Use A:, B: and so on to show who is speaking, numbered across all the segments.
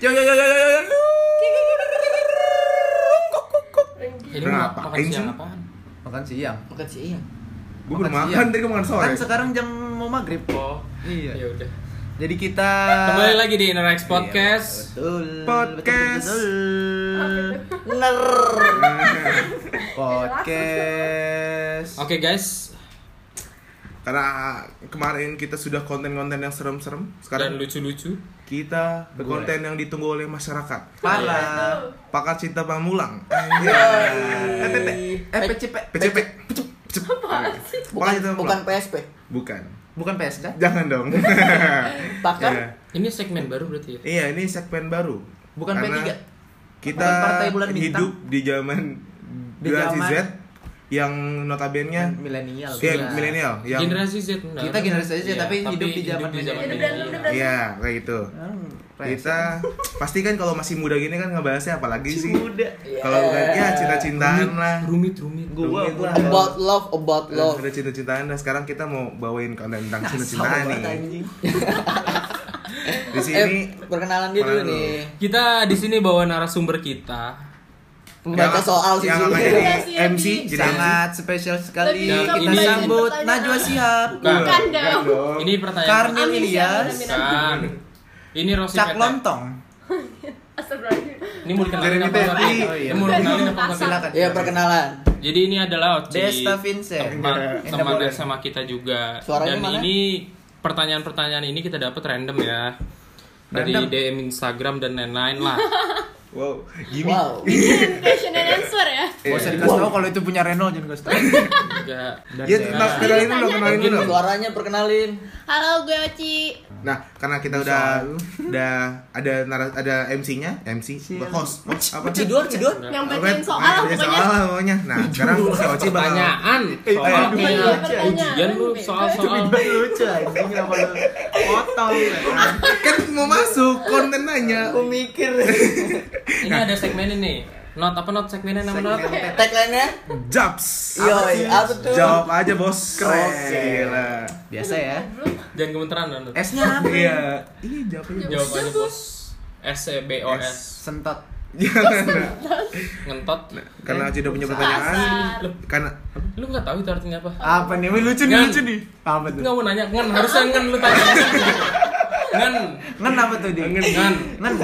A: Yo yo yo yo yo yo.
B: Jadi
C: Kenapa?
B: mau makan
C: Aing
B: siang
C: sih.
B: apaan?
A: Makan siang.
B: Makan siang.
C: Gue belum
A: Makan
C: makan,
A: siang.
C: tadi gue makan sore
A: Kan sekarang jam mau maghrib.
B: Oh.
A: Iya.
B: Ya udah.
A: Jadi kita
C: Ah.
A: Iya,
B: Kembali lagi di Inner
C: Iya,
B: X Podcast.
A: Betul.
C: Podcast.
A: betul, betul. Ner. Podcast.
B: Oke guys,
C: Karena kemarin kita sudah konten-konten yang serem-serem
B: dan
C: Sekarang
B: lucu-lucu.
C: kita berkonten yang ditunggu oleh masyarakat
A: Parah.
C: Pakar cinta pamulang Eh, tete.
A: Eh, PCP.
C: PCP Pecep. Pakar Cinta Pamulang.
D: bukan PSP
C: Bukan
A: Bukan kan? PSK.
C: Jangan dong Iya.
D: bahkan
B: Ini segmen baru berarti ya.
C: Iya ini segmen baru
A: Bukan
C: Karena
A: P3.
C: Kita
A: Bukan Partai Bulan Bintang.
C: hidup di zaman
A: Di
C: generasi
A: zaman-
C: Z Yang notabene-nya
A: milenial.
C: Iya,
A: sudah.
C: milenial yang
B: Generasi Z. benar. Iya,
A: Kita generasi Z, tapi hidup di zaman
E: milenial.
B: milenial.
C: Iya, kayak gitu.
A: Hmm,
C: Kita pasti kan kalau masih muda gini kan ngebahasnya apalagi sih?
A: Muda.
C: Kalau
D: Iya.
C: bukan ya cinta-cintaan lah.
B: Rumit, rumit.
A: Gua
C: Rumit
A: gua.
C: lah.
D: about love about
C: iya. Eh,
D: love
C: Udah cinta-cintaan dan sekarang kita mau bawain konten tentang
D: Nah,
C: cinta-cintaan nih. Di
D: eh
C: sini
D: perkenalan dia dulu
C: Perkenalan dulu.
D: nih
B: Kita di sini bawa narasumber kita.
C: yang-
D: pembaca soal sih
C: yang akan
D: sih.
C: jadi
E: Iya
A: ya.
E: sih,
C: MC
E: MC.
C: jadi
A: Sangat spesial sekali
E: Lebih
A: kita
B: lebih
A: sambut
E: pertanyaan.
A: Najwa Shihab,
B: Bukan.
E: Bukan dong.
B: Ini pertanyaan.
A: Karnil
E: Amin,
A: Ilyas,
E: amin,
B: Bukan. Ini Rosi
A: Cak
B: Petek.
A: Lontong.
E: Astagfirullahaladzim.
B: Ini mau dikenalin
C: Jeremy
B: apa enggak?
C: Teti.
B: Ini Ini mau dikenalin apa enggak?
A: Silakan.
D: ya perkenalan
B: Jadi ini adalah Oci.
A: Desta Vincent.
B: teman
A: In the
B: teman
A: Golden.
B: sama kita juga
D: Suaranya
B: dan
D: mana?
B: ini pertanyaan-pertanyaan ini kita dapat random ya dari
A: Random?
B: DM Instagram dan lain-lain lah
C: Wow, gini.
D: wow
E: Question and answer ya.
A: Gak usah dikasih tahu kalau itu punya Renault jangan kasih tahu.
B: juga
C: Ya, tentang kenalin dulu, kenalin dulu.
D: suaranya perkenalin
E: Halo, gue Oci.
C: Nah, karena kita udah udah ada nara- ada MC-nya, MC, host, host apa?
D: cidur cidur
E: Yang
C: Pokoknya-
E: bacain soal lah
C: bacain
E: pokoknya.
C: soal lah pokoknya. Nah, sekarang si Oci bakal
B: pertanyaan
C: eh,
B: soal
C: eh,
E: Iya, pertanyaan.
B: ujian lu
A: eh,
B: soal-soal
A: lucu anjing kenapa lu potong.
C: kan mau masuk konten nanya
D: aku mikir
B: ini ada segmen ini not apa not segmennya nama not
D: tagline nya
C: Jobs.
D: yoi apa tuh
C: Jawab aja bos.
A: Keren.
C: Oke lah.
A: Biasa ya.
B: jangan gemeteran dan
A: S-nya apa?
C: Iya. Iya jawab aja bos.
B: jawab aja bos S E B O S
A: Sentot.
B: ngentot
C: Karena tidak punya pertanyaan.
E: Pasar.
C: Karena
B: lu nggak tahu itu artinya apa
A: Apa nih? Wih, Lucu nih,
B: Ngan.
A: lucu nih. Apa tuh?
B: nggak mau nanya ngen harusnya ngen lu tanya ngen
A: Ngen apa tuh dia? Ngen.
B: ngen
A: Ngen.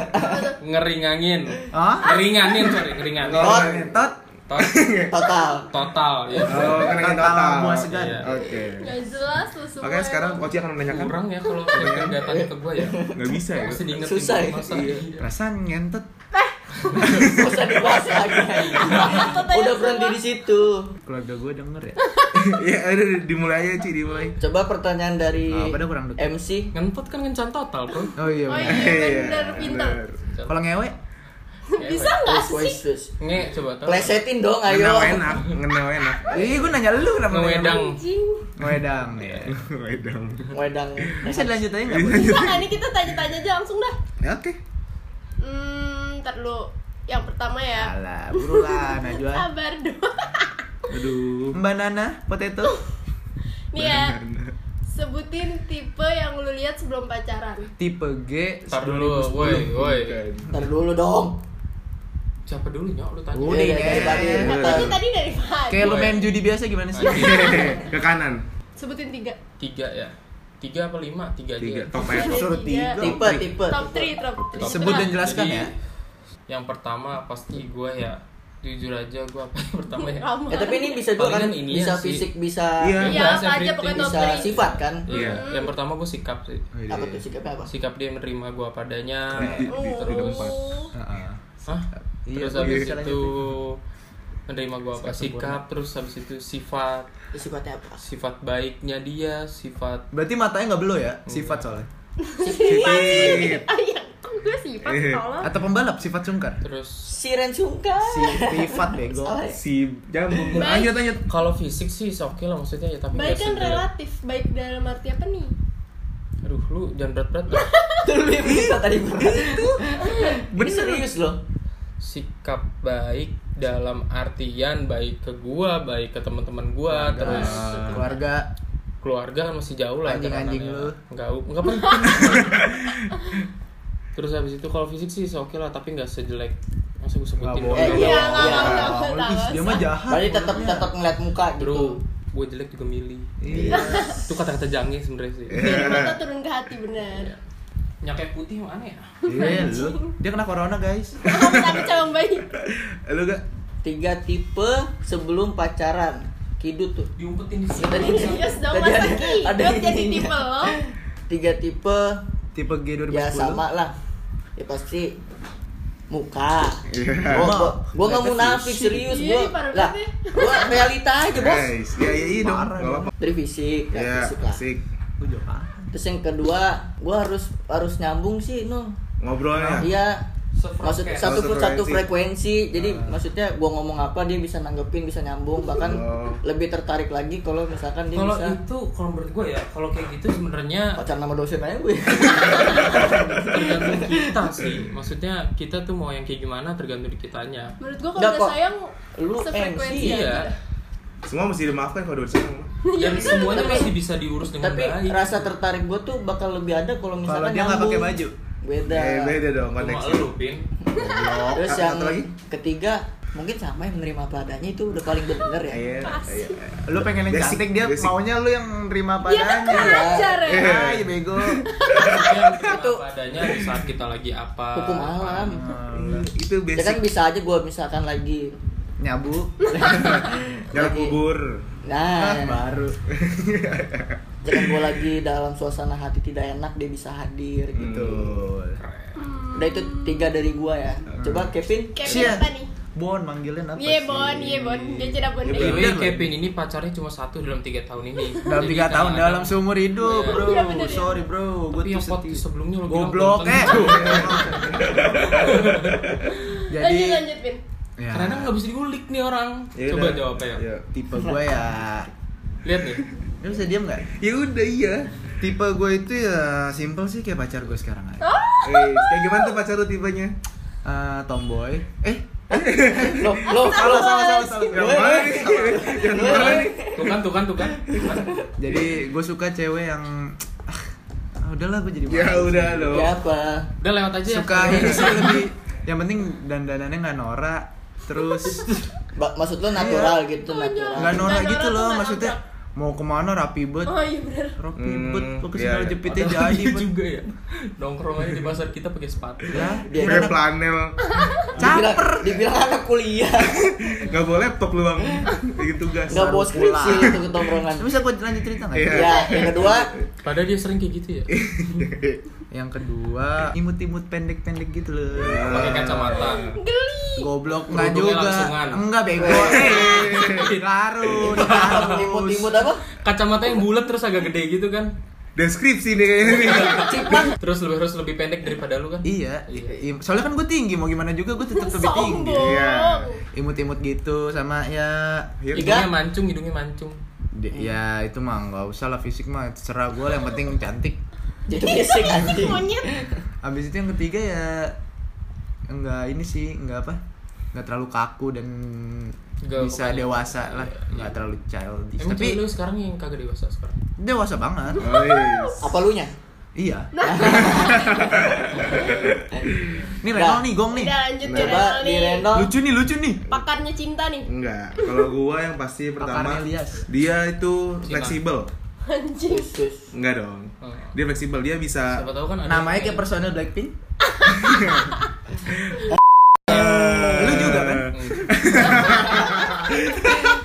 B: ngeringangin
A: Hah?
B: ringanin sorry ringanin
C: Oh,
A: Tot.
B: Tot-
D: total
B: total ya
C: Oh, karena
A: Total
C: total.
A: buah segar.
B: Iya.
C: Oke.
E: Gak jelas lu semua.
C: Oke, sekarang Oci akan menanyakan.
B: kurang ya kalau mereka nggak tanya ke gue ya
C: Nggak bisa ya.
B: mesti diingetin
D: Susah ya?
B: masa
C: Iya.
B: iya.
A: Perasaan ngentot.
D: Gak usah dibahas lagi udah berhenti di situ
A: Keluarga gue denger ya.
C: Iya, udah udah, dimulai aja, Ci, dimulai.
D: coba pertanyaan dari
A: Ah, padahal kurang dekat.
D: MC
B: ngentot kan kencan total bro
A: Oh iya.
E: Oh
A: bener.
E: iya, bener pintar.
C: bener.
A: Kalau ngewe
E: Bisa nggak
D: Wes,
E: sih?
D: wes, wes.
B: nge coba tau
D: plesetin dong
C: Ngenel
D: ayo
C: enak, ngenel enak.
A: Ih, gue nanya lu kenapa nanya lu?
B: ngewedang Iya.
E: Anjing.
A: Ngewedang. ya.
C: Wedang.
D: wedang
A: Bisa dilanjut aja enggak?
E: Bisa nggak nih kita tanya-tanya aja langsung dah.
C: Ya, Oke.
E: Hmm, ntar dulu. Yang pertama ya.
A: Alah, buru lah Najwa.
E: Sabar dong.
C: Aduh.
A: Mbak Nana, potato.
E: Nih ya, sebutin tipe yang lu lihat sebelum pacaran.
A: Tipe G.
B: Ntar dulu, woi, woi.
D: ntar dulu dong
B: Siapa dulu nyok lu tanya?
A: Udah
D: Iya, dari tadi.
A: ya.
E: Tadi tadi dari Fahad.
A: Kayak lu main judi biasa gimana sih?
B: Iya.
C: Ke kanan.
E: Sebutin tiga.
B: Tiga ya. Tiga apa lima? Tiga
C: Tiga.
B: aja. ya.
C: Top aja.
E: Ada
A: Suruh tiga.
D: tipe tipe
E: Top 3, top 3.
A: Sebut dan jelaskan
B: Jadi,
A: ya.
B: Yang pertama pasti gue ya jujur aja gue apa yang pertama ya.
D: Ya tapi ini bisa juga kan
B: Palingan ini
D: bisa
B: ya sih.
D: fisik, bisa
C: Iya.
E: Iya,
B: Bahas
E: apa aja
B: everything.
E: pokoknya top
D: bisa
E: 3.
D: sifat kan.
B: Iya.
C: Iya.
B: Yang pertama gue sikap sih.
A: Oh, iya,
D: Apa tuh sikapnya apa?
B: Sikap dia menerima gue padanya.
C: Di- di- di tempat.
E: Oh.
A: Heeh.
B: Hah?
A: Iya,
B: Terus
A: iya,
B: habis
A: iya.
B: itu menerima gue apa? Sikap. Terus habis itu sifat
D: Sifatnya apa?
B: sifat baiknya dia, sifat
A: Berarti matanya nggak belo ya? Sifat soalnya.
C: Titit.
E: Ah, ya, kok gue sifat
C: Eh.
E: tolong.
A: Atau pembalap sifat sungkar.
B: terus
D: Siren sungkan.
A: Sifat bego. Nah,
D: Salah ya?
C: Si jambung. Lanjut lanjut.
B: kalau fisik sih it's okay lah maksudnya ya tapi
E: Baik
B: nggak
E: kan
B: segala-
E: relatif, baik dalam arti apa nih?
B: aduh lu jangan berat-berat dah.
D: Itu lu yang minta tadi Itu. Ini serius loh.
B: sikap baik dalam artian baik ke gua, baik ke teman-teman gua, terus
A: Nah, Keluarga.
B: keluarga kan masih jauh lah
A: Anjing-anjing
B: tekanannya.
A: lu.
B: Enggak, enggak penting. terus habis itu kalau fisik sih oke lah tapi nggak sejelek masa gue sebutin
A: Nggak
B: dong
A: boleh.
B: Eh, Nggak
D: Iya,
E: Iya, nggak
B: boleh.
D: iya.
E: mau, nggak
A: Ah,
E: mau, nggak
A: ih,
E: mau.
A: dia mah jahat.
D: Berarti tetap
A: orangnya.
D: tetap ngeliat muka
B: bro
D: gitu.
B: gue jelek juga milih
A: Iya.
B: itu kata-kata jange sebenarnya sih
D: Eh.
B: Iya.
E: Dari mata turun ke hati benar.
D: Iya.
B: nyakai putih mana ya
A: Iya, lu. Dia kena corona, guys.
E: Amit amit calon bayi.
C: Lu gak?
D: Tiga tipe sebelum pacaran. Kidut tuh.
B: diumpetin di
D: Tadi
E: Ya sudah
D: Tadi
E: masa
D: ada- ada
E: kidot jadi
D: ininya.
E: tipe lo.
D: Tiga tipe
A: Tipe G 2010.
D: ya sama lah. Ya pasti muka.
C: Iya.
D: Gua, gua, gua
A: Ternyata
D: nggak munafik
A: fisik.
D: serius
E: Iya,
D: gua.
E: nih, parah
D: Lah,
E: banget
D: gua realita aja, Bos.
C: Guys, ya ya iya dong.
A: Parah
C: Gak apa-apa.
D: Dari fisik, ya,
C: Ya,
D: fisik lah.
C: asik.
A: Lu jahat.
D: Terus yang kedua, gua harus harus nyambung sih, Nung.
C: Ngobrolnya.
D: Iya. Maksud satu
C: Ah. Satu
D: pun satu
C: frekuensi.
D: frekuensi. Jadi maksudnya gua ngomong apa dia bisa nanggepin, bisa nyambung, bahkan
C: Oh.
D: lebih tertarik lagi kalau misalkan dia
B: kalau
D: bisa
B: itu kalau menurut gue ya kalau kayak gitu sebenarnya
D: pacar nama dosen aja gue.
B: tergantung kita sih maksudnya kita tuh mau yang kayak gimana tergantung di kitanya
E: Menurut gua kalau
D: Nggak
E: udah
D: kok.
E: sayang
D: Lu
E: sefrekuensi
D: Iya. MC
B: iya
C: Semua mesti dimaafkan kalau dosa.
D: Iya.
E: Iya,
B: dan semuanya
D: tapi-
B: pasti bisa diurus dengan
D: Tapi
B: baik
D: rasa tertarik gua tuh bakal lebih ada kalau
A: Kalau
D: misalkan
A: dia nggak pakai
D: nyambung.
A: baju.
D: Beda.
C: Eh, beda dong
B: cuma
C: koneksi.
B: lu pin
A: Goblok.
D: Terus
C: Satu
D: yang
C: lagi?
D: ketiga mungkin sama yang menerima apa adanya itu udah paling bener ya.
C: Iya, iya.
A: Lu pengen yang
C: Basic,
A: cantik dia
C: basic.
A: maunya lu yang nerima
E: Dia kan
A: padanya.
E: kurang ajar ya.
C: Iya.
A: Hai, bego. Eh,
B: Maksudnya terima
D: Itu-
B: apa adanya di saat kita lagi apa
D: Hukum
B: apa.
D: alam.
C: Eh, Itu
D: Ya
C: basic.
D: kan bisa aja gua misalkan lagi
A: Nyabu.
C: Jalan
D: lagi-
C: kubur.
A: Ah,
D: Nah,
A: baru.
D: jangan gue kan lagi dalam suasana hati tidak enak dia bisa hadir gitu
A: Betul.
D: udah itu tiga dari gua ya coba Kevin
E: Kevin
A: Sia.
E: apa nih?
A: Bon manggilnya apa?
E: Ye
A: sih?
E: bon, ye bon, dia cerah bon.
A: Iya,
B: By the way,
A: bener loh.
B: Kevin ini pacarnya cuma satu dalam tiga tahun ini
A: Dalam
B: Jadi
A: 3 tahun
B: kadang-kadang-
A: dalam seumur hidup,
B: Iya.
A: Bro.
E: Iya, bener ya.
A: Sorry, Bro. Gue
B: Tapi yang podcast sebelumnya lo bilang
A: goblok
B: tonton.
A: eh. Jadi
E: Iya, Lanjut lanjut Vin.
A: ya,
B: karena nggak bisa diulik nih orang
C: Ya
B: coba
C: udah.
B: jawab ya
C: Iya.
A: tipe gue ya.
B: lihat nih
A: Lu bisa diam nggak?
C: Ya udah iya.
A: Tipe gue itu ya simple sih kayak pacar gue sekarang aja.
E: Oh,
C: Eh, kayak gimana tuh pacar lu tipenya?
A: Eh, tomboy. Eh,
D: lo lo
A: salah salah salah salah.
C: Yang mana nih? Yang mana nih?
B: tuh kan tuh kan tuh kan Tuh kan.
A: Jadi gue suka cewek yang ah, udahlah gue jadi
C: Ya
A: malu.
C: udah lo.
D: siapa
B: udah lewat aja ya.
A: Suka ini sih lebih yang penting dandanannya nggak norak terus
D: Ba- maksud lo natural gitu
E: Oh,
A: nggak
D: natural
E: jangan.
A: norak
E: Nggak
A: gitu
E: norak
A: loh
E: tuh
A: maksudnya mau kemana rapi bet
E: Oh iya benar.
A: rapi
C: Hmm,
A: bet lo kesini
C: iya, iya.
A: jepitnya
B: Ada
A: jadi
B: lagi
A: bet
B: juga ya nongkrong aja di pasar kita pakai sepatu
C: Iya.
A: ya
D: Dia
C: Pakai
A: anak-
C: planel.
D: dibilang, dibilang anak kuliah
C: Gak boleh laptop lu bang. Bikin tugas.
D: nggak bawa skripsi
A: pulang.
D: gitu ke tongkrongan
A: bisa gue lanjut cerita nggak
C: Iya.
D: ya yang kedua
B: padahal dia sering kayak gitu ya
A: yang kedua imut-imut pendek-pendek gitu loh
B: pakai kacamata
E: Geli.
A: goblok nggak
B: Kerudungnya
A: juga
B: langsungan.
A: enggak bego eh larut larut
D: imut-imut apa
B: kacamata yang bulat terus agak gede gitu kan
C: Deskripsi nih kayaknya nih.
B: terus lebih harus lebih pendek daripada lu kan
A: Iya, i- soalnya kan gue tinggi, mau gimana juga gue tetap lebih tinggi.
E: Sombong.
C: Iya.
A: Imut-imut gitu sama ya,
C: Akhirnya
B: hidungnya mancung hidungnya mancung
A: di- ya
B: Iya.
A: itu mah nggak usah lah fisik mah terserah gue, yang penting cantik.
D: jadi fisik
E: Asik
D: anjing
E: monyet.
A: Abis itu yang ketiga ya nggak ini sih nggak apa, nggak terlalu kaku dan
B: Nggak,
A: bisa
B: pokoknya-
A: dewasa lah,
B: Iya, iya.
A: nggak terlalu childish.
B: emang
A: Tapi
B: cewek lu sekarang yang kagak dewasa sekarang
A: dewasa banget.
C: Ais.
D: apa lu nya
A: Iya. Ini
D: Nah.
A: Renal nih, Gong nih.
E: Udah lanjut ke
D: coba
E: Renal
D: di
E: nih.
D: Reno
A: Lucu nih, lucu nih.
E: Pakarnya cinta nih.
C: Enggak, kalau gua yang pasti pertama
A: Pakarnya Elias.
C: dia itu
B: Cina.
C: fleksibel.
E: Anjing.
D: khusus
C: Enggak dong.
B: Hmm.
C: Dia fleksibel, dia bisa
B: siapa tahu kan ada
A: Namanya kayak personel Blackpink. Lu juga kan?
C: Eh,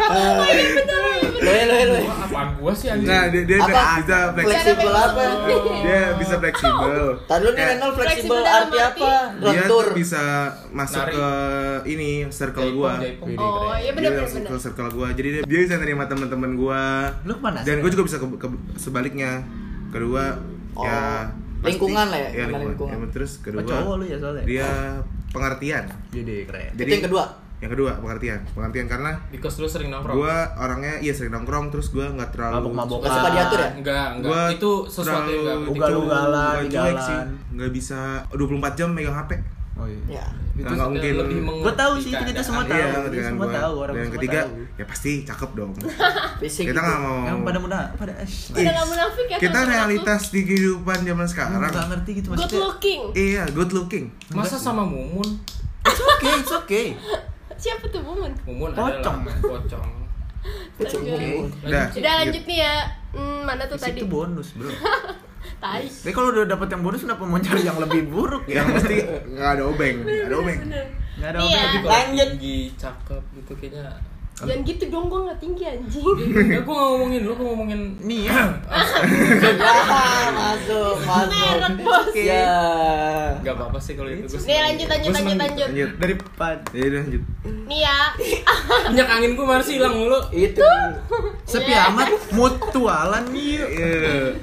D: lo ya lo ya lo ya.
B: apaan gua sih
C: Nah,
B: anjing
C: dia, dia
D: Apa?
C: bisa fleksibel.
D: fleksibel apa
C: Oh,
E: Oh,
C: Dia bisa fleksibel.
D: Tadi lu nih
C: Kayak
D: Renal fleksibel
E: Fleksibel dalam
D: arti
E: arti-
D: apa?
C: dia
D: Lentur.
C: tuh bisa masuk
B: Nari.
C: ke ini circle
B: Jaipong,
C: gua.
B: Jaipong.
A: Widih,
E: Oh
A: keren.
E: iya
C: Dia
E: benar benar
C: masuk
E: benar.
C: ke circle gua. Jadi dia, dia bisa nerima teman-teman gua.
A: Lu kemana?
C: Dan gua juga bisa ke, ke- sebaliknya. Kedua,
D: Oh,
C: ya pasti-
D: lingkungan lah ya,
C: Iya,
D: karena
C: lingkungan. Ya,
D: lingkungan.
C: terus kedua,
A: Oh, cowok lu ya soalnya.
C: dia pengertian.
A: Jadi keren.
D: Itu yang kedua?
C: Yang kedua pengertian, pengertian karena
B: because lu sering nongkrong
C: gue orangnya iya sering nongkrong terus gue nggak terlalu
A: Mabok-mabokan.
D: Gak suka diatur ya?
B: enggak enggak
C: Gua
B: itu sesuatu yang enggak
C: terlalu
B: penting.
A: Ugal-ugalan
C: Gua
A: di
C: cuek
A: jalan.
C: sih nggak bisa 24 jam megang hp
A: oh iya
D: ya
A: itu
C: Nggak mungkin.
B: lebih
C: Gua
A: gue
B: mengerti
A: tahu sih itu kita semua
B: keadaan.
A: tahu
C: Iya,
A: kita
C: dengan
A: semua
C: gua.
A: tahu orang
C: Dan yang
A: semua
C: ketiga,
A: tahu.
C: ya pasti cakep dong.
D: basic
C: kita
D: gitu.
C: nggak mau.
A: yang pada muda pada ash
E: Udah nggak munafik ya,
C: Kita
E: teman-teman
C: realitas di kehidupan zaman Nah, sekarang.
A: nggak ngerti gitu
E: Good
A: maksudnya
E: looking.
C: Iya, good looking.
B: Masa sama Mumun?
A: it's okay it's okay
E: Siapa tuh Bumun?
B: Mumun
A: Pocong.
B: adalah pocong.
D: Basic
E: Oke.
D: gitu.
C: Udah.
E: Udah lanjut nih ya. Hmm, mana tuh
A: Fisik
E: tadi?
A: itu bonus bro
E: Tai.
A: tapi kalau udah dapet yang bonus kenapa mau cari yang lebih buruk ya
C: Yang mesti nggak ada obeng, nggak ada obeng.
E: Bener.
A: nggak ada
E: Iya.
A: apa
B: Tapi kalau
D: Lanjut.
B: tinggi, cakep gitu kayaknya.
E: Jangan gitu dong, gua nggak tinggi anjing.
B: Ya gua nggak ngomongin lu, gua ngomongin
A: nih ya
D: Ya, masuk masuk
E: Merek bos.
D: ya
B: Gak apa-apa sih kalau itu. Gua
E: Nih
B: seneng.
E: lanjut lanjut
B: Gua
E: lanjut
B: seneng.
E: lanjut.
C: Lanjut.
A: dari pan
C: Ya udah, lanjut.
E: Nih ya.
B: Minyak angin gua masih hilang mulu.
D: itu
A: sepi amat mutualan yuk
C: Iya.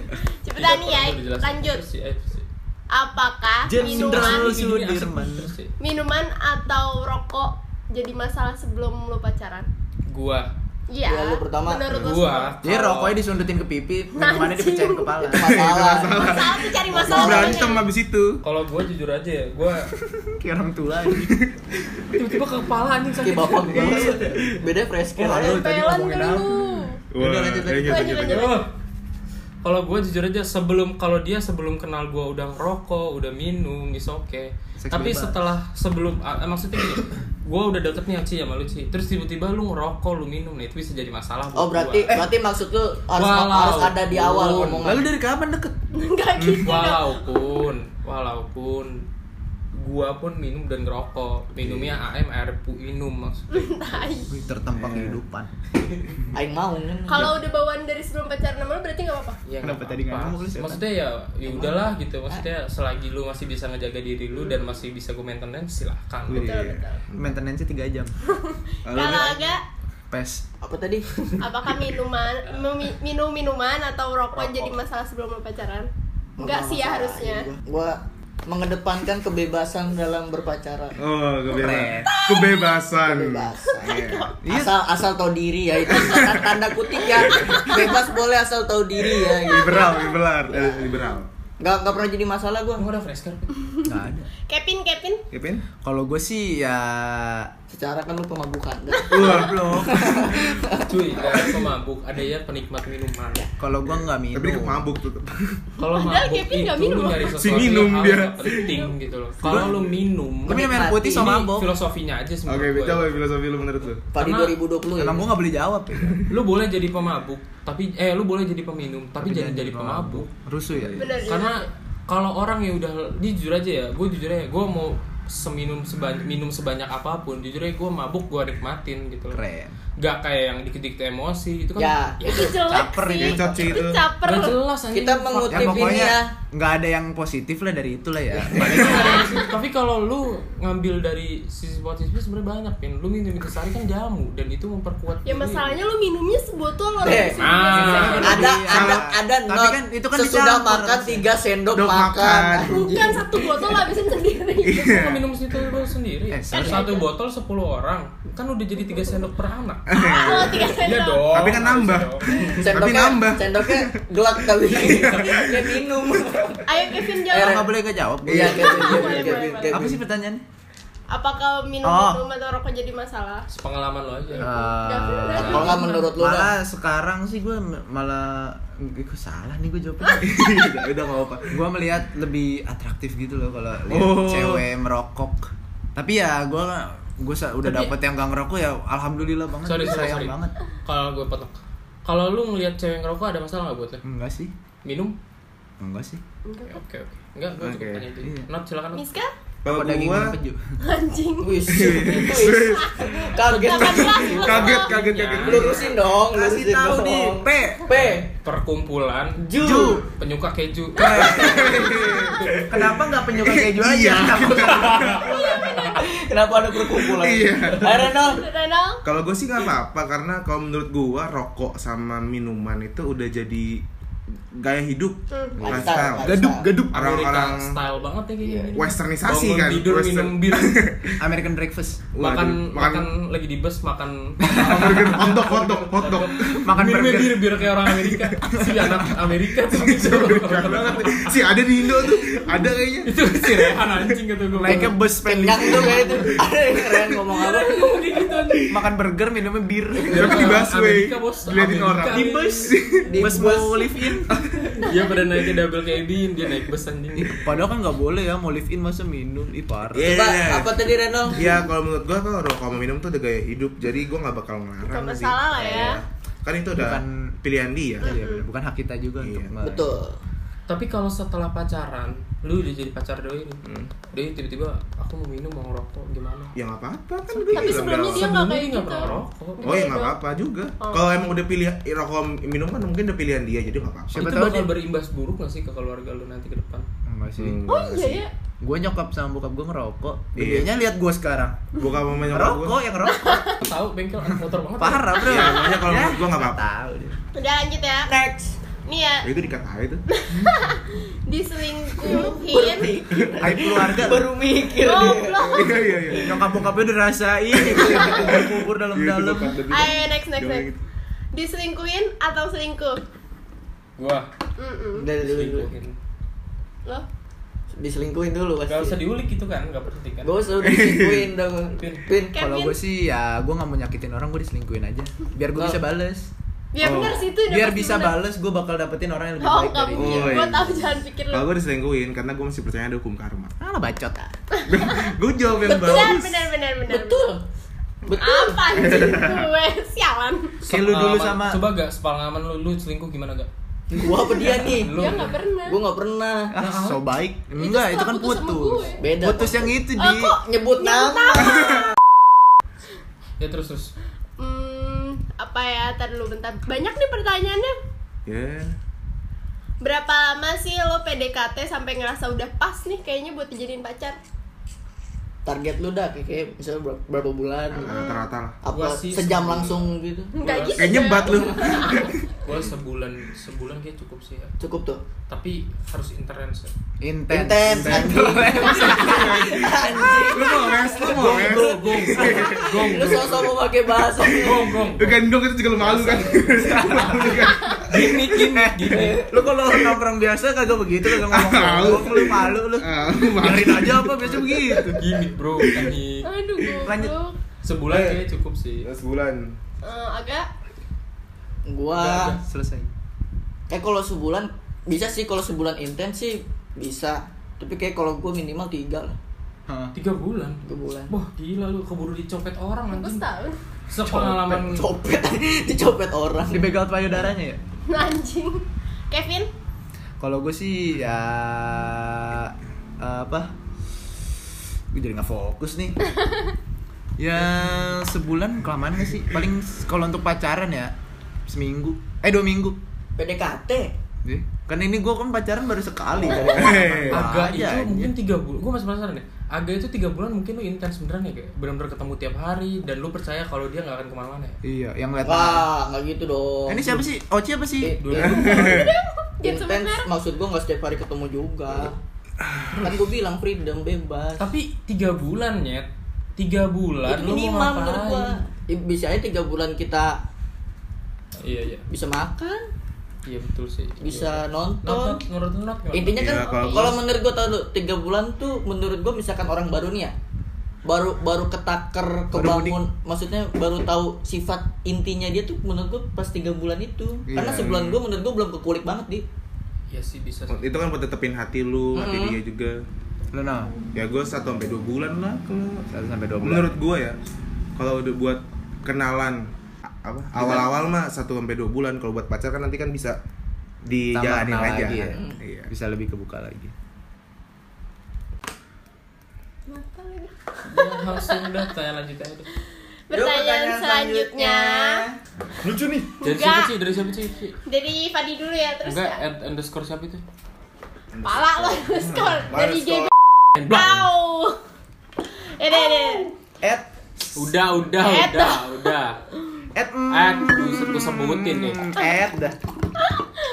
E: Cepetan nih ya.
B: Udah dijelasin.
E: Lanjut.
B: Terus sih, eh, terus sih.
E: Apakah
A: Jenderal
E: minuman
B: Ini, ini, ini, asap.
A: Sudirman.
B: Terus sih.
E: minuman atau rokok jadi masalah sebelum lo pacaran?
B: Gua
E: Iya.
D: Ya, lu pertama.
E: Menurut lo
B: gua
E: semua.
A: jadi
B: kalau-
A: rokoknya disundutin ke pipi minumannya dipecahin kepala
D: itu masalah
E: Masalah tuh cari masalah.
C: Berantem
E: orangnya.
C: habis itu.
B: kalau gua jujur aja ya, gua
A: kayak orang tua
B: tiba-tiba ke kepala anjing
D: Oke
B: sakit.
D: bapak gue beda fresh kira
A: Wah, lu tadi
E: Pelan
A: ngomongin
E: dulu.
C: Wah,
A: Udah, lanjut, lanjut.
E: Lanjut, lanjut.
B: Oh. Kalau gue jujur aja sebelum kalau dia sebelum kenal gue udah ngerokok, udah minum, is okay.
A: Seks
B: Tapi
A: bebas.
B: setelah sebelum ah, maksudnya gini, gue udah deket nih Ci sama lu Ci. Terus tiba-tiba lu ngerokok, lu minum, nah itu bisa jadi masalah buat
D: oh
A: eh.
D: berarti
B: gua.
D: berarti maksud lu harus
B: Walau.
D: harus ada di awal
B: Walau.
A: lalu
D: ngomongan
A: dari kapan deket
E: Enggak gitu. dong.
B: Hmm, walaupun walaupun gua pun minum dan ngerokok. Minumnya AM air pu- minum maksudnya.
E: Tai.
A: Wih, tertampak kehidupan
D: aing mau kan
E: Kalau udah bawaan dari sebelum pacaran sama lo berarti nggak apa-apa.
B: Ya,
A: Kenapa
B: nggak
A: tadi nggak
B: apa-apa.
A: ngomong Eh. lu, setan?
B: Maksudnya ya ya udahlah gitu. Maksudnya selagi lu masih bisa ngejaga diri lu dan masih bisa gue maintenance silahkan.
A: Iya.
E: Betul betul.
A: maintenance tiga jam
E: Kalau agak
A: pes
D: apa tadi
E: apakah minuman memi- minum minuman atau rokok jadi masalah sebelum lo pacaran? Enggak sih ya harusnya.
D: gue mengedepankan kebebasan dalam berpacaran
C: Oh, kebebasan. Kebebasan.
D: kebebasan
C: Iya.
D: asal asal tahu diri ya itu Tan- tanda kutip ya bebas boleh asal tahu diri ya gitu.
C: Liberal, liberal, eh, liberal.
D: nggak nggak pernah jadi masalah gue
B: Gua udah fresh kan?
A: nggak ada
E: Kevin Kevin
C: Kevin?
A: kalau gue sih ya
D: secara kan lu pemabukan kan?
C: Iya.
A: Wah, belum
B: Cuy, gak ada pemabuk, ada ya penikmat minuman.
A: kalau gue nggak minum
C: Tapi dia mabuk tetap.
B: Kalau
E: Ya. Padahal
B: mabuk
E: Kevin
B: itu
E: nggak
B: lu
E: minum.
B: nyari
C: Si
B: sesuatu
C: minum
B: yang
C: dia.
B: nggak penting gitu loh. Kalau lu minum,
A: Lu minum air putih
B: ini
A: sama mabok.
B: Filosofinya aja semua.
C: Oke, coba filosofi lu menurut lu.
D: pada
B: Karena-
D: 2020 ya
A: Emang gue gak boleh jawab ya
B: Lu boleh jadi pemabuk, tapi eh lu boleh jadi peminum, tapi, jangan jadi pemabuk.
A: Rusuh ya?
E: benar
B: Karena kalau orang yang udah ini jujur aja ya, gue jujur aja, gue mau seminum sebanyak minum sebanyak apapun, jujur aja gue mabuk gue nikmatin gitu loh.
A: Keren
B: Gak kayak yang dikit-dikit emosi itu kan.
D: Ya.
E: itu jelek
A: Caper
E: sih.
A: ya,
C: kecot sih
E: Itu
C: itu.
E: caper.
B: Gak jelas anjing.
D: kita
B: Fuck.
A: Ya
D: mengutip ini
A: pokoknya
D: ya
A: nggak ada yang positif lah dari itulah ya
B: Iya. tapi kalau lu ngambil dari sisi positifnya sebenarnya banyak kan lu minum itu sehari kan jamu dan itu memperkuat
E: Ya
B: ini.
E: masalahnya lu minumnya sebotol lo.
D: Eh,
B: ah
D: ada
A: Iya.
D: ada ada
A: Tapi
D: not
A: kan itu kan
D: sesudah
A: dicampur
D: makan
A: harusnya.
D: tiga sendok
C: Sendok makan.
D: makan
E: Bukan satu botol lo habisin sendiri.
B: Lu nggak minum situ lu sendiri Kan
A: Eh, sorry.
B: satu botol 10 orang kan udah jadi tiga sendok per anak
E: Kalau tiga
B: Iya
E: sendok.
B: dong
C: Tapi kan nambah.
B: iya,
C: Tapi
D: sendoknya
C: nambah.
D: sendoknya gelap tapi
A: Iya.
D: dia minum
E: Ayo Kevin
A: Kalau
E: jawab.
A: nggak boleh gak jawab
D: iya
A: gua. ya.
D: kayak gitu,
E: Boleh,
D: kayak
E: boleh,
D: gitu, kayak
A: Apa
D: gitu.
A: sih pertanyaannya?
E: Apakah minum
A: Oh.
E: minum atau rokok jadi masalah?
B: pengalaman lo aja
E: Gak bener.
D: kalau nggak menurut lu dah
A: Eh, malah sekarang sih gue malah gue salah nih gue jawabnya
C: Udah, Iya, udah enggak apa-apa.
A: gue melihat lebih atraktif gitu loh kalau lihat
C: Oh.
A: cewek merokok tapi ya gue gue udah
B: Tapi-
A: dapet yang gak ngerokok ya alhamdulillah banget
B: sorry sorry,
A: sayang
B: sorry.
A: banget
B: kalau gue petok kalau lu ngelihat cewek ngerokok ada masalah nggak buat lo
A: enggak sih
B: minum
A: enggak sih
B: Ya, oke oke enggak gue cukup
C: Oke.
B: tanya itu
A: Iya.
B: Nat silakan Nat.
E: Miska?
C: Kalau
A: Apa daging
C: gua
A: keju?
E: Anjing.
D: wis
A: Iya.
D: wis kaget
C: kaget kaget kaget.
D: lurusin dong
A: kasih
D: lurusin
A: tahu
D: dong
A: di P
D: P
B: perkumpulan
D: Ju
A: Ju.
B: penyuka keju
C: Eh,
A: kenapa nggak penyuka keju aja
D: kenapa ada perkumpulan
C: Iya.
D: Ayo Renal
E: Renal?
C: Kalau gue sih nggak apa-apa karena kalau menurut gua rokok sama minuman itu udah jadi gaya hidup,
E: Hmm.
C: lifestyle,
D: Lifestyle.
A: Gadup, gadup.
C: orang-orang
B: Amerika style banget ya kayaknya.
D: Iya.
C: westernisasi
B: Bangun
C: kan,
B: tidur minum
C: western.
B: bir,
A: American breakfast.
B: makan
C: Waduh,
B: makan lagi di bus makan
C: hamburger, hotdog, hotdog, hotdog.
A: Makan
B: minumnya
A: burger.
B: bir bir kayak orang Amerika si anak Amerika tuh gitu
C: Keren banget. Gitu. Si ada di Indo tuh, ada kayaknya.
B: itu si Rehan anjing gitu gue
A: Naiknya bus family.
D: kenyang tuh kayak itu ada yang keren ngomong apa
B: gitu anjing
A: Makan burger, minumnya bir.
C: Tapi di busway,
B: Amerika, bos.
C: diliatin
B: Amerika.
C: orang.
A: Di bus.
D: Di
A: bus
D: bus.
A: mau live in.
B: dia pada naiknya double cabin dia naik bus anjing
A: Ih, Padahal kan nggak boleh ya mau live in masa minum, ih parah.
C: Iya.
D: coba apa tadi Reno
C: Iya, kalau menurut gua kalau rokok sama minum tuh ada gaya hidup, jadi gua nggak bakal
E: Nggak
C: ngelarang sih.
E: masalah lah
A: Iya.
E: ya.
C: Kan itu udah
A: Bukan-
C: pilihan dia.
A: Iya, bener. bukan hak kita juga
C: Iya.
A: untuk nge-
D: betul
B: tapi kalau setelah pacaran lu udah jadi pacar doi nih doi tiba-tiba aku mau minum mau ngerokok gimana
C: Ya nggak apa-apa kan
E: Tapi
C: udah
E: sebelumnya dia nggak
B: Sebelumnya
E: kayak
B: dia
E: gitu.
B: nggak pernah rokok.
C: Oh ya nggak apa-apa juga.
E: Oh.
C: Kalau emang udah pilih rokok minum kan mungkin udah pilihan dia jadi nggak apa-apa.
A: Siapa
B: itu
A: tahu
B: bakal
A: dia-
B: berimbas buruk gak sih ke keluarga lu nanti ke depan
A: Enggak sih.
E: Oh iya ya.
A: Gue nyokap sama bokap gue ngerokok.
C: Hmm. Iya.
A: Gedenya lihat gue sekarang.
C: Bukan momen
A: Ngerokok yang ngerokok.
B: tahu bengkel anak motor banget
A: Parah, Bro. Ya,
C: Iya, makanya kalau menurut gua nggak apa-apa.
A: Tahu deh.
E: Udah lanjut ya.
D: next
E: Nih ya,
C: itu dikatain itu.
E: diselingkuhin.
A: Aib keluarga.
D: baru mikir dia
E: Goblok.
C: Iya iya iya.
A: Nyokap bokapnya udah rasain kubur dalam-dalam.
E: Ayo next next
C: Iya, gitu.
A: gitu?
E: next. Diselingkuhin atau selingkuh?
B: gua
E: Mm-mm.
D: dari dulu dulu
B: selingkuhin
E: Loh,
D: diselingkuhin dulu
B: gak usah
D: pasti
B: diulik itu kan gak penting kan
D: gak usah diselingkuhin dong
B: Pin.
D: pin
A: Kalau gue sih ya gue nggak mau nyakitin orang gue diselingkuhin aja. Biar gue
D: Oh.
A: bisa bales.
E: ya
C: Oh.
E: benar sih itu udah
A: Biar
E: pasti
A: bisa
E: bener.
A: bales gue bakal dapetin orang yang lebih
E: Oh,
A: baik
E: nggak
A: dari gue.
E: mungkin.
C: Oh,
E: Gua
C: iya.
E: tahu jangan pikir
C: Kalau
E: lu.
C: gue diselingkuhin karena gue masih percaya ada hukum karma.
A: Ah lah bacot.
C: gue jawab yang
E: Benar,
C: bagus.
E: benar, benar, benar.
D: betul betul
E: Apa sih gue sialan?
A: Kayak lu dulu
B: Sepengalaman-
A: sama-
B: coba gak sepengalaman lu lu selingkuh gimana gak
D: gua apa dia nih
B: Lu.
E: Dia nggak pernah.
D: gua nggak pernah
A: Ah, so baik.
E: Itu
A: Enggak,
E: setelah
A: itu kan
E: putus sama
A: putus.
E: gue.
D: Beda,
A: Putus
D: Pak.
A: yang itu
E: Eh,
A: di.
E: kok
D: nyebut nama
B: ya terus terus
E: Hmm, apa ya? Tar dulu bentar. Banyak nih pertanyaannya.
C: Ya.
E: Berapa lama sih lo PDKT sampai ngerasa udah pas nih kayaknya buat dijadiin pacar?
D: target lu dah kayak- kayak misalnya ber- berapa bulan
C: Rata-rata lah.
B: Gua
D: apa
B: sih
D: sejam
B: sebelum-
D: langsung gitu
E: Enggak gitu.
C: Kayak nyebat lu.
B: gua sebulan sebulan kayak cukup sih ya
D: cukup tuh
B: tapi harus intens ya.
A: Intens.
D: intens anjing
C: Lu mau nges, lu mau nges.
B: gong gong gong
D: lu sosok mau pakai bahasa
B: gong gong
C: Lu gendong itu juga lu malu kan. Malu kan?
B: gini gini gini
A: Lu kalau nongkrong biasa kagak begitu kagak ngomong-ngomong lu malu lu.
C: Ah, lu malu.
A: Biarin aja apa biasa begitu.
B: gini bro ini
E: Aduh, goblok.
A: Lanjut.
B: sebulan kayak cukup sih
C: Ya, Sebulan.
E: Eh, agak
D: gua
A: Selesai.
D: kayak kalau sebulan bisa sih kalau sebulan intens sih bisa tapi kayak kalau gue minimal tiga lah
A: Hah.
B: tiga bulan
D: tiga bulan
B: wah gila lu keburu dicopet orang
E: aku
B: anjing
E: setahun.
B: sepengalaman
D: copet dicopet orang
A: Dibegal payudaranya ya.
E: Anjing. Kevin,
A: Kalau gue sih ya eh, apa? Gue jadi nggak fokus nih. ya sebulan kelamaan gak sih? Paling s- kalau untuk pacaran ya seminggu. Eh dua minggu.
D: PDKT
A: Deh. Kan ini gue kan pacaran baru sekali. kan.
C: Hey.
B: agak itu
A: Aja, anjir.
B: mungkin tiga bulan gue masih penasaran deh agak itu tiga bulan mungkin lu intens beneran ya kayak bener-bener ketemu tiap hari dan lu percaya kalau dia nggak akan kemana-mana ya
A: Iya, yang ngeliat. tangan.
D: wah nggak gitu dong
A: Eh, Ini siapa sih? Oci apa sih?
D: Eh,
B: Dua-
E: jangan sama
D: intens
E: merah.
D: maksud gue nggak setiap hari ketemu juga kan gue bilang freedom bebas
B: tapi tiga bulan ya tiga bulan
D: Itu
B: lu mau
D: minimal menurut gue
B: ngapain
D: bisa aja tiga bulan kita
B: iya iya
D: bisa
E: Kan?
D: makan
B: iya betul sih
D: bisa
B: nonton
D: nonton
B: menurut lu Nat, nggak?
D: intinya kan
C: Iya, kalau-
D: kalau menurut gua tau lu tiga bulan tuh menurut gua misalkan orang baru nih ya baru baru ketaker kebangun maksudnya baru tahu sifat intinya dia tuh menurut gua pas tiga bulan itu karena
A: Iya.
D: sebulan gua menurut gua belum kekulik banget di
B: iya sih bisa sih.
C: Itu kan buat tetepin hati lu, hati
D: Mm-mm.
C: dia juga.
A: Lu no.
C: Ya gue 1 sampai 2 bulan lah kalau
A: Satu sampai dua bulan.
C: menurut gue ya kalau udah buat kenalan a- apa awal-awal mah 1 sampai 2 bulan kalau buat pacar kan nanti kan bisa
A: Tambah
C: dijalanin
A: kenal
C: aja.
A: lagi ya.
C: Iya.
A: bisa lebih kebuka lagi.
E: Mata lagi.
B: Ya, langsung udah tanya lanjut aja deh.
E: Pertanyaan selanjutnya.
C: Lucu nih.
B: dari
E: Enggak.
B: siapa sih dari siapa sih Ki?
E: Dari Fadi dulu ya terus
B: enggak
E: ya.
B: at underscore siapa itu
E: Pala lo skor dari GB.
B: Blak.
E: Au. Eh deh deh.
A: At
B: udah udah
E: Eh,
B: udah Eh, udah
A: at mm,
B: at gue sebutin nih
A: at dah.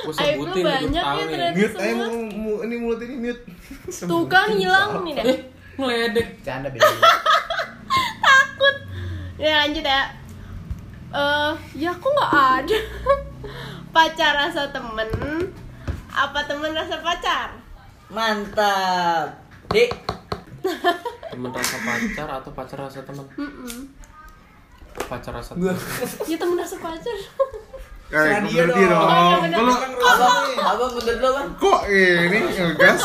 B: Gue
E: Hmm. Aib lu
B: sebutin
E: banyak
B: udah
E: ya
B: tahu nih.
E: ternyata.
C: mute
E: Semua.
C: ayo mu- mu- ini mulut ini mute
E: Tuh kan hilang nih deh.
B: Eh, meledek.
A: Canda beda.
E: Ya lanjut ya. Eh, ya aku nggak ada. pacar rasa temen. Apa temen rasa pacar?
D: Mantap. Dik,
B: Temen rasa pacar atau pacar rasa temen?
E: Mm-mm.
B: Pacar rasa temen.
E: Ya temen rasa pacar.
A: Serah
C: kayak
A: dia
C: Eh, ngerti
A: dong.
C: dong
E: Oh, iya bener.
C: Kalau-
D: abang, abang mundur dulu bang.
C: kok ini ngegas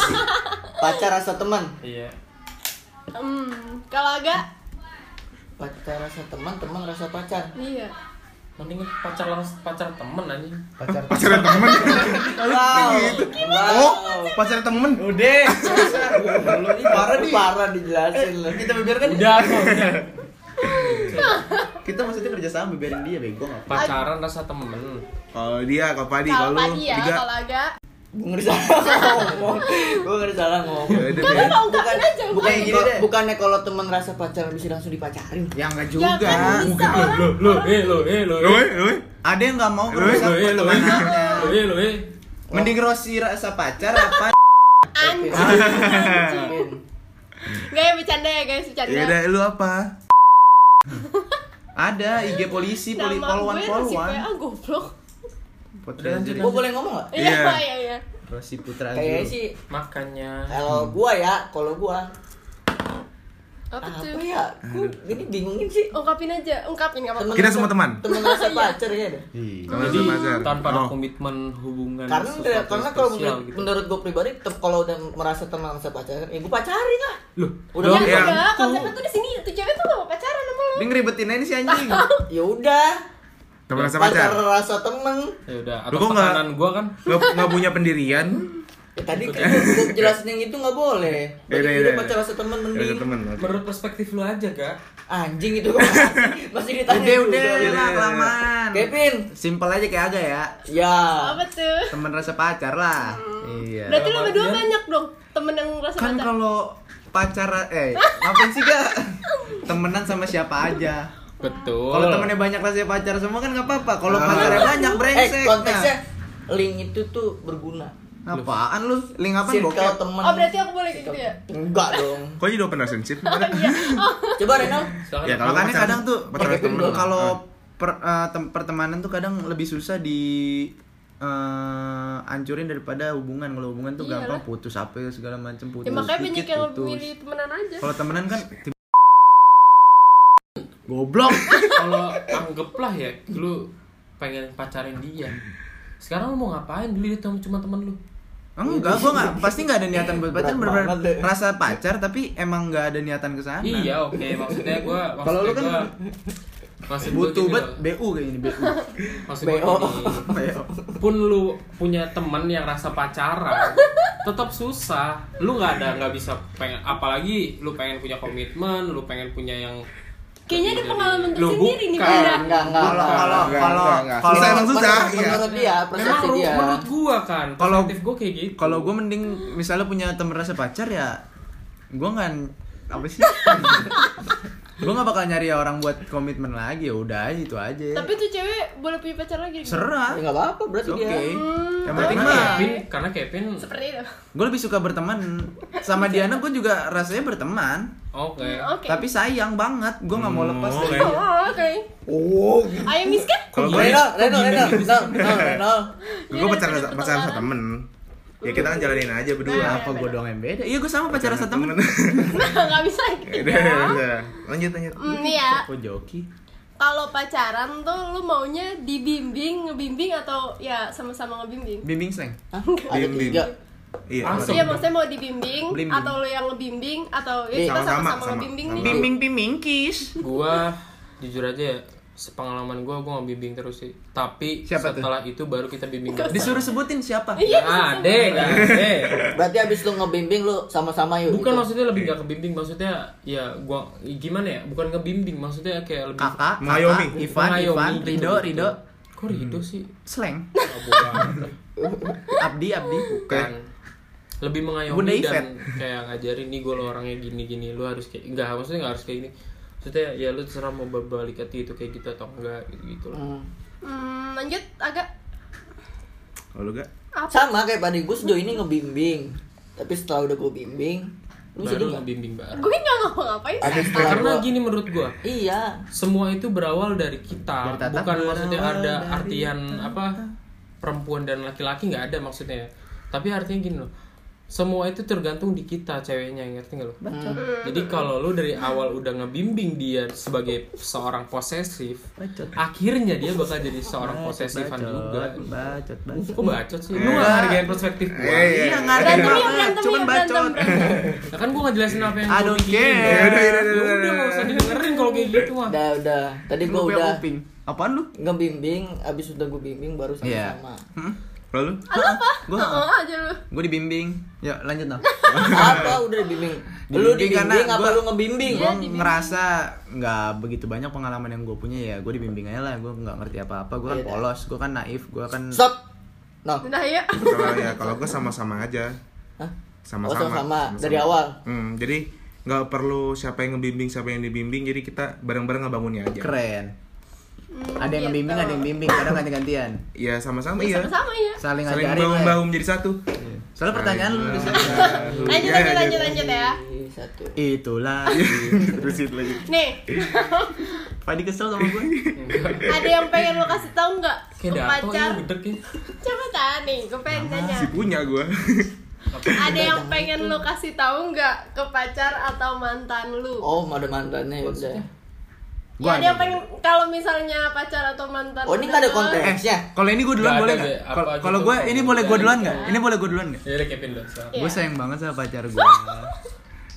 D: Pacar rasa teman.
B: Iya.
E: Hmm, kalau agak,
D: Pacar rasa teman, teman rasa pacar.
E: iya.
B: Mending pacar langsung pacar temen anjing.
A: Pacar.
C: pacaran temen
D: Wow.
C: oh
D: Wow.
C: pacaran temen
A: Udah. susah. Gua dulu nih, parah nih.
D: Parah dijelasin lah.
A: Kita biarkan
B: Udah kok. udah.
A: Kita maksudnya kerja sama biarin dia bego enggak
B: Pacaran rasa temen.
C: kalau dia kalau padi
E: Kalau
C: kalau lu
E: pagi ya,
C: tiga
E: kalau agak.
D: Gue ngeri salah ngomong. Gue ngeri salah
C: Ya
D: ngomong.
C: udah,
E: Kamu
C: biar-
E: mau ungkapin aja,
D: Bukan
A: Kayak
E: ungkapin.
A: gini deh.
D: bukannya kalau teman rasa pacar bisa langsung dipacarin.
A: Ya enggak
E: Ya
A: juga.
E: kan bisa orang.
B: Lo, lo, eh, lo, eh, lo,
C: Lu,
B: eh.
C: eh, lu, eh.
A: Ada yang enggak mau
C: Lu,
A: kalau
B: Lo, eh,
A: sama
B: lo, eh.
A: temenannya.
B: Lo, eh, lo, eh.
A: Mending Rosi rasa pacar apa?
E: Anjing. Gak ya bercanda ya guys, bercanda.
C: ya udah lu apa
A: Ada IG polisi, poli
E: Nama
A: polwan
E: gue Rosi
A: polwan.
E: PA goblok.
A: Podcast
B: lanjut,
A: dari
D: Gue boleh ngomong gak?
E: Iya,
C: Iya.
E: iya, iya.
A: Rosi Putra.
D: Kayaknya
A: Azul.
D: sih
B: Makanya.
D: kalau gua ya, kalau gua
E: Apa
D: apa
E: tuh?
D: ya? Gue ini bingungin sih.
E: Ungkapin aja, ungkapin gak apa-apa.
D: Temen
C: kita
D: rasa-
C: semua teman
D: Temen
E: Iya.
D: rasa pacar ya deh.
A: Ih.
C: Teman
B: Jadi
C: pacar.
B: tanpa
C: Oh.
B: ada komitmen hubungan
D: karena
B: sesuatu
D: karena
B: yang
D: kalau
B: spesial
D: menurut,
B: gitu.
D: menurut gue pribadi tetap kalau udah merasa tenang sama pacaran ya gue pacarin lah
B: Loh,
D: Udah
B: loh,
E: Ya
C: Yang
E: enggak,
B: itu.
E: pacaran tuh di sini tuh cewek tuh gak mau pacaran sama lu.
A: Ini ngeribetin aja si anjing.
D: ya udah
C: teman rasa
D: pacar
C: pacar
D: rasa temen
B: Ya udah, atau
C: Lu kok nggak-
B: tekanan gua kan
C: nggak nggak punya pendirian
D: ya, tadi kan gue jelasin yang itu nggak boleh
C: Ya udah,
D: berarti
C: ya
D: udah
C: udah.
D: pacar rasa temen
C: Ya udah,
D: mending
C: teman
B: menurut perspektif lu aja, Kak.
D: anjing itu gua masih, masih ditanya
A: Udah
D: dulu.
A: udah lah
C: udah.
A: kelamaan.
D: Kevin
A: Simpel aja kayak agak ya.
D: ya
E: Apa tuh?
A: Temen rasa pacar lah. Iya.
E: Berarti lu berdua
B: Iya.
E: banyak dong temen yang rasa
A: kan
E: pacaran.
A: kalau pacaran eh ngapain sih gak temenan sama siapa aja
B: Betul.
A: kalau temennya banyak rasanya pacar semua kan nggak apa-apa kalau
C: Ah.
A: pacarnya banyak
D: eh
A: brengsek
D: konteksnya link itu tuh berguna
A: Nah, apaan lu link apa
D: circle
A: bokep
D: temen
E: Oh berarti aku boleh kayak gitu ya?
D: enggak dong
C: kok jadi open relationship
D: coba Renal
B: Silakan.
C: Ya, kalau
A: makanya
C: pacaran-
A: kadang tuh
C: pacaran
A: pakai
C: temen
A: pil-
C: lah.
A: kalau
C: Ah.
A: per- eh, tem- pertemanan tuh kadang lebih susah di eh, ancurin daripada hubungan kalau hubungan tuh
E: Iyalah.
A: gampang putus apa segala macam putus
E: Iya Ya makanya banyak
A: dikit,
E: yang
A: putus.
E: milih temenan aja.
A: kalau temenan kan tiba- goblok
B: Kalau anggaplah ya, lu pengen pacarin dia. Sekarang lu mau ngapain? Dulu dia tem- cuma temen lu.
A: Enggak, gua nggak pasti nggak ada niatan buat pacar,
D: Berat
A: bener
D: banget deh.
A: rasa pacar tapi emang nggak ada niatan ke sana.
B: Iya, oke. Maksudnya gua maksudnya
A: Kalau lu kan
B: gua, maksud gua
A: Butuh
B: gini
A: bet
B: Gitu loh.
A: BU kayak ini BU.
B: Maksud gua
D: BO.
B: gini. pun lu punya temen yang rasa pacaran tetap susah lu nggak ada nggak bisa pengen apalagi lu pengen punya komitmen lu pengen punya yang
E: Kayaknya ada
B: Jadi,
E: pengalaman
B: lu
E: tersendiri nih
B: bukan.
E: Bunda.
D: enggak enggak
A: Kalau kalau
C: Enggak,
A: kalau
C: enggak, enggak.
A: kalau
C: Susah emang susah.
D: Menurut- menurut dia
B: memang
D: persepsi
B: lu
D: dia
B: menurut gua kan
A: Iya. Kalau-
B: perspektif gua kayak gitu
A: kalau gua mending misalnya punya temen rasa pacar ya gua nggak apa sih? gua nggak bakal nyari orang buat komitmen lagi ya udah aja itu aja.
E: Tapi tuh cewek boleh punya pacar lagi. gitu.
D: Ya
A: Serah.
D: nggak apa-apa berarti
A: Oke.
D: dia.
A: Yang
E: Hmm,
A: penting
B: karena
A: mah
B: Kevin karena Kevin
E: Seperti itu.
A: gue lebih suka berteman sama Diana gue juga rasanya berteman
B: oke
E: Iya. Oke.
A: tapi sayang banget gue nggak mau lepas dari
E: Oh, oke.
C: oh
E: Ayo miskin.
C: kalau gue
D: Renal, Renal, Renal, Renal, Renal, Renal.
C: gue pacar pacar sama temen ya kita kan jalanin aja berdua
A: Kenapa gue doang yang beda? Iya gue sama Nah, pacar rasa temen
E: Nah, nggak bisa gitu.
C: Ya udah,
E: ya.
C: udah. lanjut lanjut
E: Hmm, nih ya,
A: Oh joki
E: kalau pacaran tuh lu maunya dibimbing, ngebimbing atau ya sama-sama ngebimbing?
A: Bimbing slang
D: Hah? Ada
C: Bimbing.
D: tiga.
C: iya
B: Langsung.
E: Iya maksudnya mau dibimbing
A: Blimbing.
E: atau lu yang ngebimbing atau ya
D: Iya,
E: kita
C: sama-sama,
E: sama-sama
C: sama.
E: ngebimbing nih.
C: Sama.
A: bimbing kis
B: gua jujur aja ya sepengalaman gua gua nggak bimbing terus sih tapi
A: Siapa tuh?
B: setelah itu baru kita bimbing
A: Disuruh sebutin siapa?
E: Iya,
B: Nah, deh, nah, deh.
D: Berarti abis lu ngebimbing lu sama-sama yuk.
B: bukan
D: gitu.
B: maksudnya lebih gak kebimbing maksudnya ya gua gimana ya bukan ngebimbing maksudnya kayak lebih
A: Kakak,
C: Mengayomi.
A: kakak, Ivan,
B: mengayomi
A: Ivan,
B: gitu,
A: Rido,
B: gitu.
A: Rido
B: kok Rido sih
A: Slang
B: bukan
A: Abdi, Abdi
C: Kayak-
B: lebih mengayomi
A: Bunda Ivet.
B: dan kayak ngajarin nih gue lo orangnya gini gini lu harus kayak enggak maksudnya nggak harus kayak gini maksudnya ya lu terserah mau berbalik hati itu kayak gitu atau enggak gitu gitu loh
D: Hmm.
E: Hmm, lanjut agak
C: Kalau lu gak?
D: sama kayak pada gue sejauh ini ngebimbing tapi setelah udah gue bimbing lu
B: baru
D: sedih nggak
B: ngebimbing baru
E: gue nggak ngapa-ngapain
D: Ada setelah
B: karena
D: gua-
B: gini menurut gua
D: iya
B: semua itu berawal dari kita
A: Dari tatap
B: bukan
A: berawal
B: maksudnya ada
A: dari
B: artian apa perempuan dan laki-laki nggak ada maksudnya ya. tapi artinya gini loh semua itu tergantung di kita ceweknya ya, ngerti nggak lo jadi kalau lu dari awal udah ngebimbing dia sebagai seorang posesif
A: Bacot.
B: akhirnya dia bakal jadi
A: Ah,
B: seorang posesifan
A: Bacot,
B: juga
A: Bacot, bacot.
B: kok bacot sih lu nggak hargain perspektif gua
C: Eh,
A: Iya,
C: iya.
A: nggak ada
E: Berantem yuk,
A: apa-apa,
E: berantem
A: cuman
E: yuk, berantem,
A: bacot.
B: Nah, kan gua nggak jelasin apa yang
A: I
B: gua
A: don't
B: pikirin.
A: care.
C: Yaudah, yaudah,
B: Ya
C: yaudah,
B: udah nggak usah dengerin kalau kayak gitu mah
D: udah udah tadi gue
A: Lu
D: udah
A: kuping. Eh, Apaan lu?
D: ngebimbing abis udah gue bimbing baru
A: Iya.
D: sama-sama
A: Hmm?
C: Kalau lu?
E: Lu apa?
A: Gua-
E: Heeh aja lu.
A: Gue dibimbing. Ya, lanjut nah.
D: apa udah dibimbing lu
A: Dibimbing karena
D: dibimbing apa
A: gua-
D: lu ngebimbing
A: gue ngerasa nggak begitu banyak pengalaman yang gue punya ya gue dibimbing aja lah gue nggak ngerti apa apa gue kan
D: Iya.
A: polos gue kan naif gue kan
D: stop no
E: Nah, ya.
C: Kalau ya, kalau gue sama-sama aja.
D: Hah?
C: Sama-sama.
D: Oh, sama-sama.
C: Sama-sama.
D: Dari awal?
C: Hmm, jadi nggak perlu siapa yang ngebimbing siapa yang dibimbing jadi kita bareng-bareng ngebangunnya aja
A: keren
E: Hmm,
A: ada yang
E: gitu.
A: ngebimbing ada yang bimbing kadang ganti gantian
C: ya sama-sama iya
E: Sama ya.
A: saling
C: saling
A: ngajarin lah
C: baum-baum jadi satu
A: Iya. soalnya pertanyaan lu bisa Iya.
E: Lanjut,
C: Ya,
E: lanjut,
C: ya.
E: lanjut, lanjut ya.
D: Ih, satu
A: itulah Iya.
C: terusin lagi
E: Nih,
A: Fadi kesel sama gue
E: ada yang pengen lu kasih tahu nggak? Ke
B: kayak dato
E: pacar?
B: ya gedek ya
E: Coba tanya nih, gue pengen tanya.
C: si punya gue
E: Ada yang pengen lu kasih tahu nggak ke pacar atau mantan lu?
D: oh ada mantannya ya udah
A: Gua
E: ya, ada yang
A: ada.
E: pengen kalau misalnya pacar atau mantan.
D: oh ini nggak ada
E: udah-
A: eh
D: konteksnya
A: kalau ini gue duluan
B: Nggak
A: boleh
B: ada,
A: nggak
B: Be. Apa
A: Kalau-
B: aja
A: kalau
B: tuh.
A: gue ini boleh gue duluan nggak ini boleh gue duluan nggak
B: ya udah Kevin dong so.
A: gue
E: Iya.
A: sayang banget sama pacar gue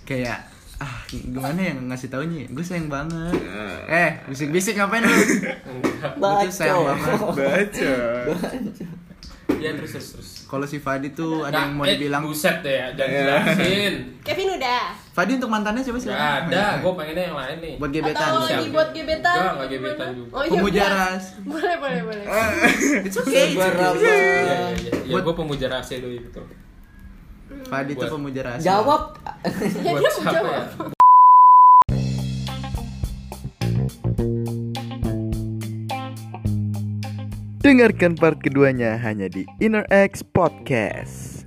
A: kayak ah gimana yang ngasih taunya gue sayang banget eh bisik-bisik ngapain lu Gua tuh sayang banget
D: baca
C: baca
D: Oh.
B: ya terus terus terus
A: kalau si Fadi tuh ada
B: Nah,
A: yang mau
B: eh,
A: dibilang Iya.
B: buset deh ya jangan jelasin
E: Kevin udah.
A: Fadi untuk mantannya siapa sih
B: nggak ada gue pengennya yang lain nih
A: Iya. buat
E: Atau
A: gebetan
E: lagi
B: Siap.
E: buat gebetan?
B: Enggak, nggak
E: gimana?
B: gebetan juga. Eh,
E: Oh, iya,
A: pemuja
E: boleh.
A: ras
E: Boleh, boleh, boleh.
A: it's okay it's
D: Sabar,
A: okay.
B: ya
D: Abang.
B: ya ya
A: Buat-
B: gue pemuja rahasia dulu gitu. betul
A: Fadi tuh
B: Buat-
A: pemuja ras
D: jawab
E: Ya,
B: buat
E: dia mau
B: siapa ya
E: jawab.
F: Dengarkan part keduanya hanya di Inner X Podcast.